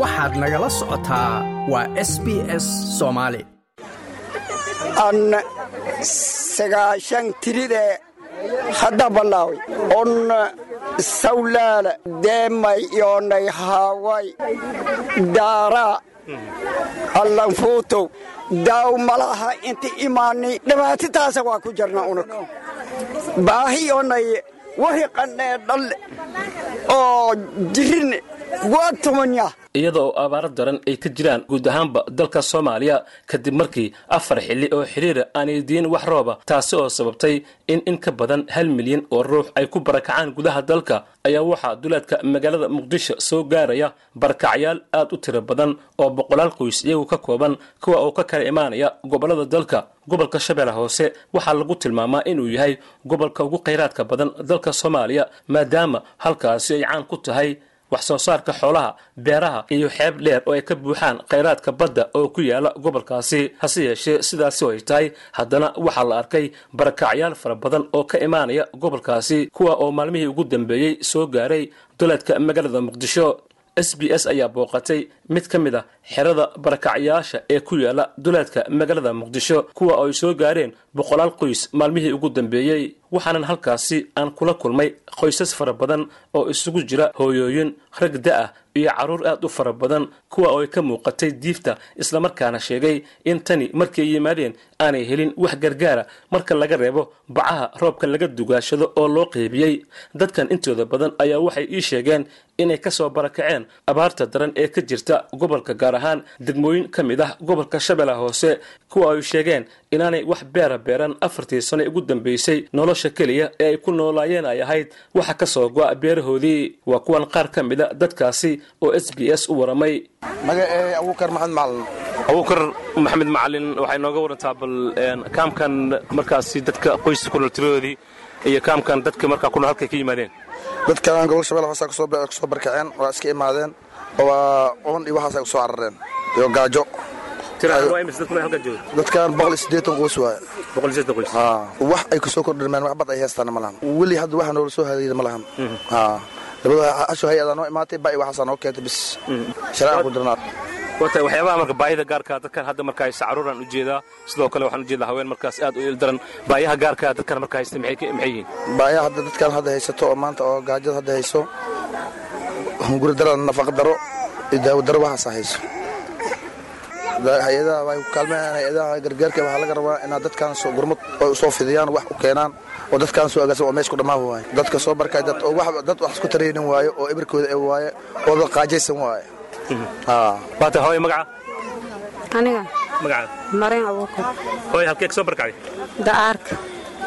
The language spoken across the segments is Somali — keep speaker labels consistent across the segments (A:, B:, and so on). A: waxaad nagala socotaa waa s b s soomaali
B: aan sagaashan tiridee hadda balaaway on sawlaala deemay yoonay haaway daaraa allanfuutow daaw malaha inti imaanay dhibaatitaasa waa ku jarna unug baahiyoonay wariqanee dhalle oo jirine waatumanya
C: iyadoo abaaro daran ay ka jiraan guud ahaanba dalka soomaaliya kadib markii afar xilli oo xiriira aanay diin wax rooba taasi oo sababtay in in ka badan hal milyan oo ruux ay ku barakacaan gudaha dalka ayaa waxaa duleedka magaalada muqdisho soo gaaraya barakacyaal aad u tiro badan oo boqolaal qoys iyagu ka kooban kuwa oo ka kala imaanaya gobollada dalka gobolka shabeelle hoose waxaa lagu tilmaamaa inuu yahay gobolka ugu khayraadka badan dalka soomaaliya maadaama halkaasi ay caan ku tahay wax soo saarka xoolaha beeraha iyo xeeb dheer oo ay ka buuxaan khayraadka badda oo ku yaala gobolkaasi hase yeeshee sidaasi oo ay tahay haddana waxaa la arkay barakacyaal fara badan oo ka imaanaya gobolkaasi kuwa oo maalmihii ugu dambeeyey soo gaaray duleedka magaalada muqdisho s b s ayaa booqatay mid ka mid ah xerada barakacyaasha ee ku yaala duleedka magaalada muqdisho kuwa oo ay soo gaareen boqolaal qoys maalmihii ugu dambeeyey waxaanan halkaasi aan kula kulmay qoysas fara badan oo isugu jira hooyooyin rag da-ah iyo carruur aad u fara badan kuwa oo ay ka muuqatay diifta islamarkaana sheegay in tani markay yimaadeen aanay helin wax gargaara marka laga reebo bacaha roobka laga dugaashado oo loo qeybiyey dadkan intooda badan ayaa waxay ii sheegeen inay ka soo barakaceen abaarta daran ee ka jirta gobolka gaar ahaan degmooyin ka mid ah gobolka shabeellaha hoose kuwa ay sheegeen inaanay wax beera beeraan afartii sane ugu dambaysay nolosha keliya ee ay ku noolaayeen ay ahayd waxa ka soo go'a beerahoodii waa kuwan qaar ka mida dadkaasi oo s b s u waramay
D: abuukar maxamed macalin
C: abuukar maxamed macalin waxay nooga warantaa bal kaamkan markaasi dadka qoyska kunol tiradoodii iyo kaamkan dadka markaa kunol halkay ka yimaadeen
D: dadkan gobol shabelle hoose ka soo barkaceen waa iska imaadeen oo oon iyo waxaas ay usoo carareen iyo gaajo dadkan boqol iyo sideetan qoys waaye wax ay kusoo kordhirmeen waxbad ay heestaan malahan weli hadda waxa noola soo haleeyda malahan labada casho hay-adaa noo imaatay ba waxaasaa noo keentay bis sharaca ku dirnaad
C: wata waxyaabaha marka baahida gaarkaa dadkan hadda marka haysta carruuraan ujeedaa sidoo kale waxaan ujeedaa haween markaas aad u ildaran baayaha gaarkaa dadkan marka haysta maxay yihiin
D: baayaha hadda dadkan hadda haysato oo maanta oo gaajada hadda hayso hunguri daran nafaqa daro iyo daawo daro waxaasaa hayso hay-adaha way ku kaalmeen hay-adaha gargaarka waxaa laga rabaa inaa dadkan gurmad ay usoo fidiyaan wax u keenaan oo dadkan soo agaasan waa meesku dhammaan waaye dadka soo barkay dad oo wax dad wax isku taraynin waayo oo ibirkooda ay waaye oo dad qaajaysan waaye
C: waata hooy magaca
E: aniga
C: magacaada
E: mareen abuukar
C: hooy halkee ka soo barkacday
E: da'aarka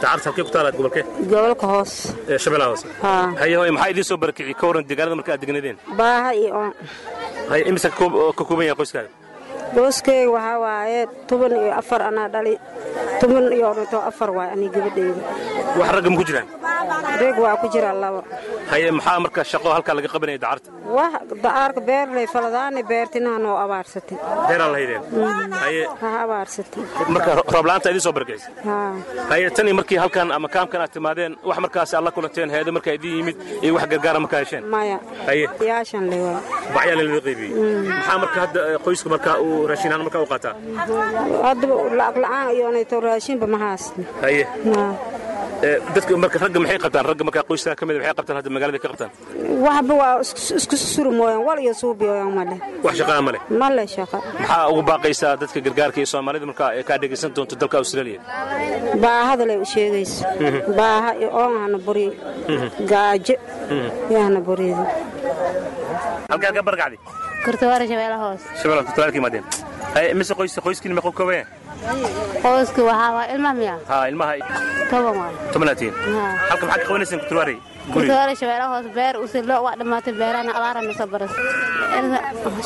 C: dacarta halkee ku taalaad gobolkee
E: gobolka hoos
C: ee shabeellaha hoose
E: haa
C: haye hooy maxaa idiin soo barakiciyey ka warran deegaanada marka aad degnaydeen
E: baaha iyo oon
C: haye imisa ka koob- oo ka kooban yahay qoyskaaga
E: booskeyga waxaa waaye toban iyo afar anaa dhali toban iyo dhintoo afar waaye aniga gabadhayda
C: wax ragga ma ku jiraan
E: reeg waa ku jira labo
C: haye maxaa marka shaqo halkaa laga qabanaya dacarta
E: wax da'aarka beerley faladaani beertinahan oo abaarsatay
C: beeraan la haydeen haye
E: ha abaarsatay
C: marka roobla'aanta idiin soo barakaysay
E: haa
C: haye tan iyo markii halkan ama kaamkan aad timaadeen wax markaasi aad la kulanteen heedo markaa idiin yimid iyo wax gargaara markaa hesheen
E: maya
C: haye
E: yaashan le waa
C: bacyaa lala qaybiyey maxaa marka hadda eh, qoysku markaa uu raashinaan markaa u qaataa
E: haddaba lacag la'aan iyo onayto raashinba ma haasna
C: haye
E: haa
C: eh, dadka marka ragga maxay qabtaan ragga markaa qoyska ka mid a maxay qabtaan hadda magaalada ka qabtaan
E: waxba waa isku- isku suri mooyaan wal iyo suubi ooyaan ma leh
C: wax shaqaa ma leh
E: ma leh shaqo
C: maxaa ugu baaqaysaa dadka gargaarka iyo soomaalida markaa ee kaa dhegaysan doonto dalka australia
E: baahada lay u sheegayso baaha iyo oonhana buriyo gaajo yaana buriyo
C: halkaa ka barkacday
F: kurtawaara shabeella hoos
C: shabeellaha kutalaad ka imaadeen haye mise qoyska qoyskiina meqo koobayaan
F: qoysku waxaa waa ilma miya
C: haa ilmaha
F: toban waay
C: tobanaad tihiin
F: Haa.
C: halka maxaa ka qabanaysaan kutalawaarey guriga
F: kurtawaara shabeella hoos beer usilo waa dhammaatay beerana abaarana soo baras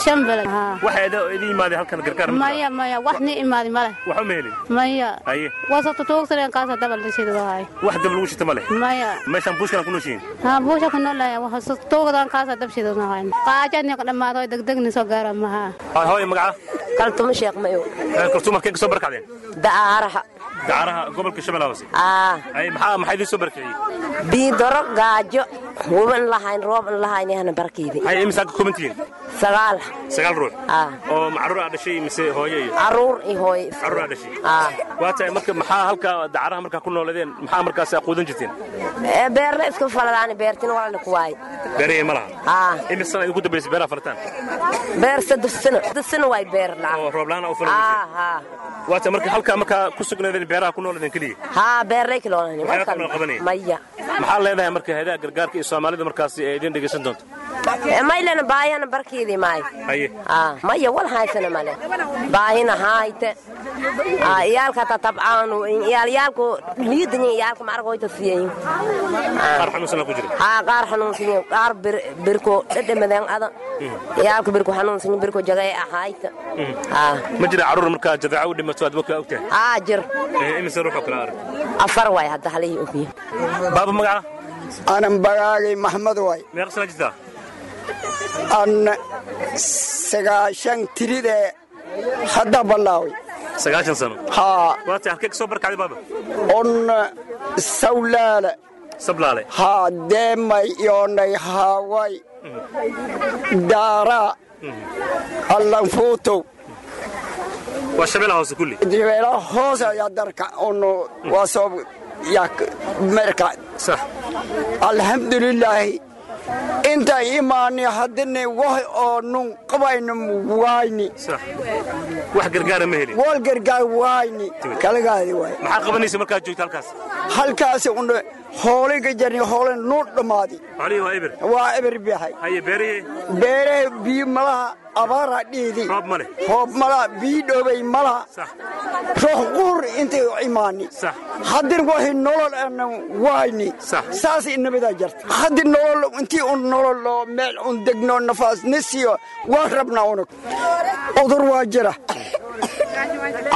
F: shan beled Haa.
C: waxa ida- idin yimaadeen halkan gargaar ma jiraa?
F: maya maya wax ni imaadi male
C: wax u meelin
F: maya
C: haye
F: waa soo tutuugsadeen kaasa dabal dhashida wahay
C: wax dab lagu shita ma leh
F: maya
C: meeshaan buushkalan ku nooshihiin
F: haa buusha ku noolaya waa soo tuugdan kaasa dabshida wahay qaajani ku dhammaado degdegni soo gaara maha
C: haa hooye magaca
G: kaltuma sheeqmayo
C: Eh, kartuum halkee ka soo barkacdeen
G: da'aaraha
C: dacaraha gobolka shabeellaha hoose
G: aa
C: haye maxaa maxaa idiin soo barkiciyey
G: biidaro gaajo huban lahayn rooban lahayn ahna barkiidi
C: hay imisaaka kooban tihiin
G: sagaal
C: sagaal ruux
G: Ah.
C: oo macruur aa dhashay mise hooyo iyo
G: caruur iyo hooy
C: carruur aa dhashay
G: Ah.
C: waa tahay marka maxaa halkaa dacaraha markaa ku nooladeen maxaa markaas aa quudan jirteen
G: Ee, Eh, beerna iska faladaan beertina walana ku waay
C: beerahii ma laha
G: Ah.
C: imis sana idinku dambaysay beeraha falataan
G: beer saddex sano saddex sano waay Ah, beer
C: oo
G: lacag
C: roob la-aan aa u
G: haa
C: falaysay
G: haa
C: waa tahay marka halkaa markaa ku sugnaadeen beeraha ku nooladeen keliya
G: haa beernay kiloonani
C: Waxyaaba kaloo qabanaya.
G: maya
C: maxaa leedahay marka haydaha gargaarka iyo soomaalida markaasi ee idin dhegaysan doonto
G: Ee, maylana Eh, baayana barkiidii maay
C: haye
G: aa maya wal haysana male baahina haayte aa iyaalka ta tabcaanu iyaal iyaalku liidani iyaalku maarka hoyta siyayin
C: qaar xanuunsana ku jira
G: haa qaar xanuunsanyin qaar bir- birko dhedhamadan ada iyaalku birko xanuunsanyin birko jagay ah, ahaayta aa
C: ma jira carruur markaa jadeeco u dhimato aad wakaa ogtahay
G: haa jir
C: Ee, Eh, imise ruuxoo kale arag
G: afar waay hadda halihii ogiye
C: baaba magaca
B: aanan bagaagay maxmed waay
C: meeqa sana jirtaa
B: aan sagaashan tiridee hadda ballaaway
C: sagaashan sano
B: haa
C: waa tahay halkee ka soo barkacday baaba
B: on sawlaala
C: sablaale
B: haa deemay yoonay haaway daaraa allanfuutow
C: waa shabeellaha hoose kulli
B: dibeela hoos ayaa darka ono waa soo yak merka
C: sax
B: alxamdulilaahi inta imaani haddina wax oonun qabaynu wayni
C: sax wax gargaara ma helin
B: wal gargaar wayni kalagaadi waay
C: maxaa qabanaysa markaad joogta halkaas
B: halkaasi una hooliga jarni hoolen nuu dhammaadi
C: xoolihii waa eber
B: waa eber bihay
C: haye beerihii
B: beeraha biyo malaha abaara dhiidi
C: roob ma leh
B: hoob malaha biyo dhoobay malaha
C: sax
B: roox quur intay u imaani
C: sax
B: haddin waxay nolol ana wayni
C: Sax.
B: saasay nabadaa jarta haddii nolol intii un nolol oo meel un degno nafaas na siiyo waa rabnaa unug cudur waa jira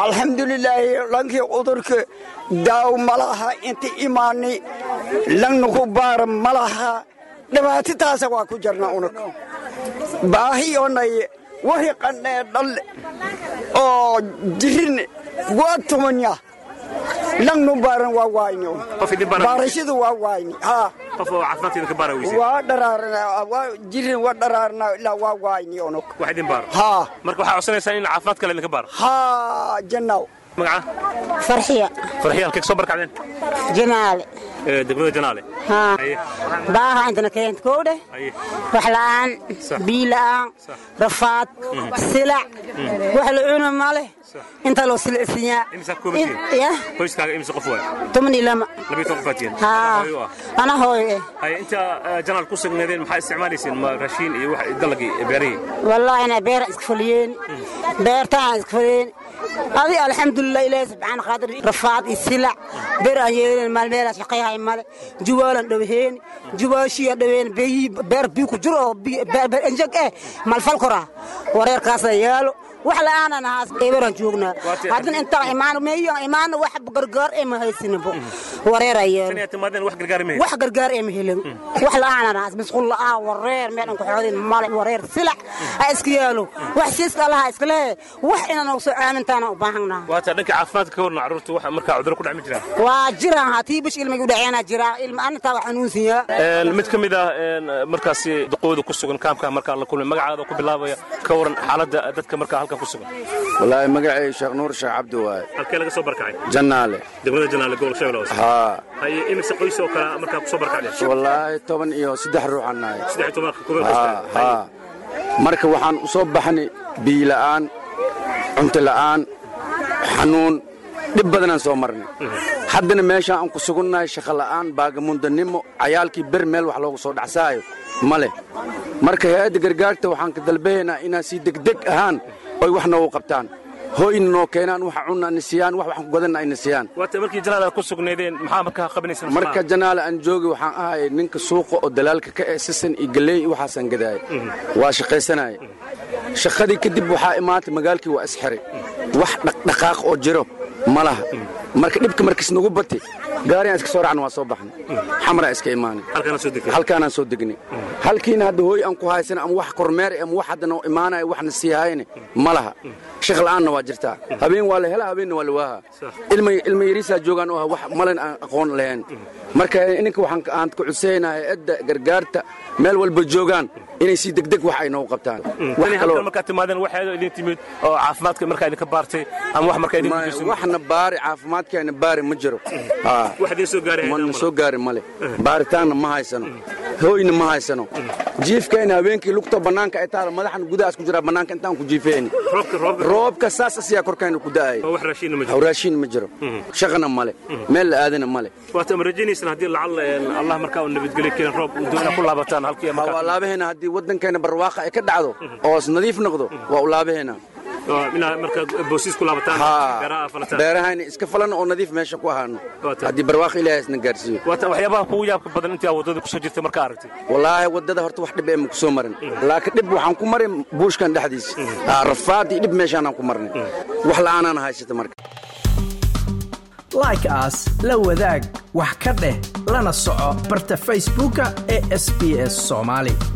B: alxamdulilaahi lankii cudurka daaw ma laha inti imaani lannaku baara ma laha dhibaatitaasa waa ku jarnaa unug baahi onay wahi qandhee dhalle oo jirin waa tumanya langnu baaran waa waayni un
C: qof idin baara
B: baarashadu waa waayni haa
C: qof oo caafimaadkeeda ka baara weyse
B: waa dharaarnaa waa jirin waa dharaarnaa ilaa waa waayni unug
C: wax idin baaro
B: haa
C: marka waxaa codsanaysaan in caafimaad kale idinka baaro
B: haa janaaw
C: magaca
E: farxiya
C: farxiya halkee ka soo barkacdeen
E: janaale
C: Ee, Eh, degmada janaale
E: haa
C: haye
E: baaha intana keent kowdhe
C: haye
E: wax la'aan biyo la'aan rafaad silac wax la cuna ma leh inta loo siliciyaa
C: Imisa kuma
E: In-
C: tihin?
E: yah,
C: qoyskaaga imse qof waay
E: toban iyo lama
C: labiyo toban qof aad
E: haa
C: ah
E: ana hooye eh.
C: haye inta ah, ee, janaal ku sugnaadeen maxaa isticmaalayseen ma raashiin iyo wax eh, dalagii ee, beerihii
E: wallaahi inaa beera iska fuliyeen beertaan iska fuliyeen adi alxamdulilah ilaahi subxaana qaadir rafaad iyo silac beer aan yeeleen maal meelaa shaqayhay male juwaalan dhowheen juwaashiya dhowheen beeyii beer biyu ku jiro oo biyo- beer beer enjeg eh malfalkora wareerkaasaa yaalo wax la'aanan ahaas eberaan joognaa
C: Waati-
E: haddana intaan imaan meeyaan imaana wax gargaar ee ma haysinabo wareeraa yaalo
C: tan aad timaadeen wax gargaari ma
E: wax gargaar ee mahelin wax la'aanaan ahaas masquul la'aan wareer meelan ku xoodin male wareer silac ha iska yaalo wax siiska allaha iska lehe wax inaan ugu soo aamintaana u baahanaa
C: waa taa dhanka caafimaadka ka warna carruurta waxa markaa cudurro ku dhacma jiraan
E: waa jiraan hatii bish ilmiga u dhaceena jiraa ilma arintaa wax xanuunsiyaa
C: mid ka mid ah een, markaasi duqooda ku sugan kaamka markaa la kulmay magacaada ku bilaabaya ka waran xaaladda dadka markaa halkan ku sugan
H: wallaahi magacay sheekh nuur sheekh cabdi waaye
C: halkee laga soo barkacay
H: jannaale
C: degmada janaale gobol shabeelle hoose
H: haa
C: haye imise qoys oo kale markaa ku soo barkacdeen
H: wallaahi toban iyo saddex ruuxaan nahay
C: saddex iyo tobanka
H: haa
C: kuwa
H: haa marka waxaan u soo baxnay biyo la'aan cunto la'aan xanuun dhib badanaan soo marnay haddana meeshaan aan ku sugunnahay shaqo la'aan baagamundanimo cayaalkii ber meel wax loogu soo dhacsaayo ma leh marka hay-adda gargaarta waxaan ka dalbahaynaa inaan si degdeg ahaan oy wax noogu qabtaan hooyna noo keenaan waxa cunna ina siiyaan wax waxaan ku gadanna ina siiyaan
C: waata markii janaale aad ku sugnaydeen maxaa markaa qabanaysan
H: marka janaale aan joogi waxaan ahay ninka suuqa oo dalaalka ka eesisan iyo galley iyo waxaasaan gadaaya waa shaqaysanaya shaqadii kadib waxaa imaantay magaalkii waa isxiray wax dhaqdhaqaaq oo jiro ma laha marka dhibka markis nagu batay gaariaan iska soo racna waa soo baxnay xamraa iska imaanay
C: halkaana soo degtay
H: halkaanaan soo degnay halkiina hadda hooy aan ku haysana ama wax kormeer ah ama wax hadda noo imaanaya waxna sii hayane ma laha shaq la'aanna waa jirtaa habeen waa la helaa habeenna waa la waahaa ilma ilma yariisaa joogaan oo ah wax malan aan aqoon lahayn marka ininka waxaan ka- aan ku cuseynahay edda gargaarta meel walba joogaan inay si degdeg wax ay noo qabtaan Wax
C: yani
H: kaloo-
C: Mm. Hmm. halkan markaa timaadeen waxeedo idin timid oo caafimaadka markaa idinka baartay ama wax markaa idin
H: ma-
C: gudbisay
H: waxna baari caafimaadkeena baari ma jiro Ah.
C: wax idin soo gaaray
H: wana soo gaari male
C: Eh.
H: baaritaanna ma haysano hooyna ma haysano jiifkayna habeenkii lugta bannaanka ay taala madaxna gudaha isku jiraa bannaanka intaan ku jiifeen
C: roobka roobka
H: roobka saas asiyaa korkayna ku da'aya
C: oo wax raashiina ma jiro Mm-hmm.
H: hawraashiin ma jiro shaqana male meel la aadana male
C: waata ma rajaynaysaan haddii lacalla een, allah markaa uu nabadgelyo keenin roob uu doona ku laabataan halkii ama
H: ulaabaheenna haddii waddankeena barwaaqa ay ka dhacdo
C: Mm-hmm.
H: oos nadiif noqdo waa ulaabaheenna
C: inaa markaa boosiis ku laabataan beeraha falataan
H: beerahayna iska falan oo nadiif meesha ku ahaano
C: Waa tahay.
H: haddii barwaaqa ilaahay isna gaarsiiyo
C: waata waxyaabaha kugu yaabka badan intii aad waddada kusoo jirtay markaa aragtay
H: wallaahi waddada horta wax dhib eema ku soo marin laakiin dhib waxaan ku marin buushkan dhexdiisa Aa, rafaad iyo dhib meeshaanaan ku marnay wax la'aanaan haysata marka
A: like aas la wadaag wax ka dheh lana soco barta facebooka ee sbs soomaali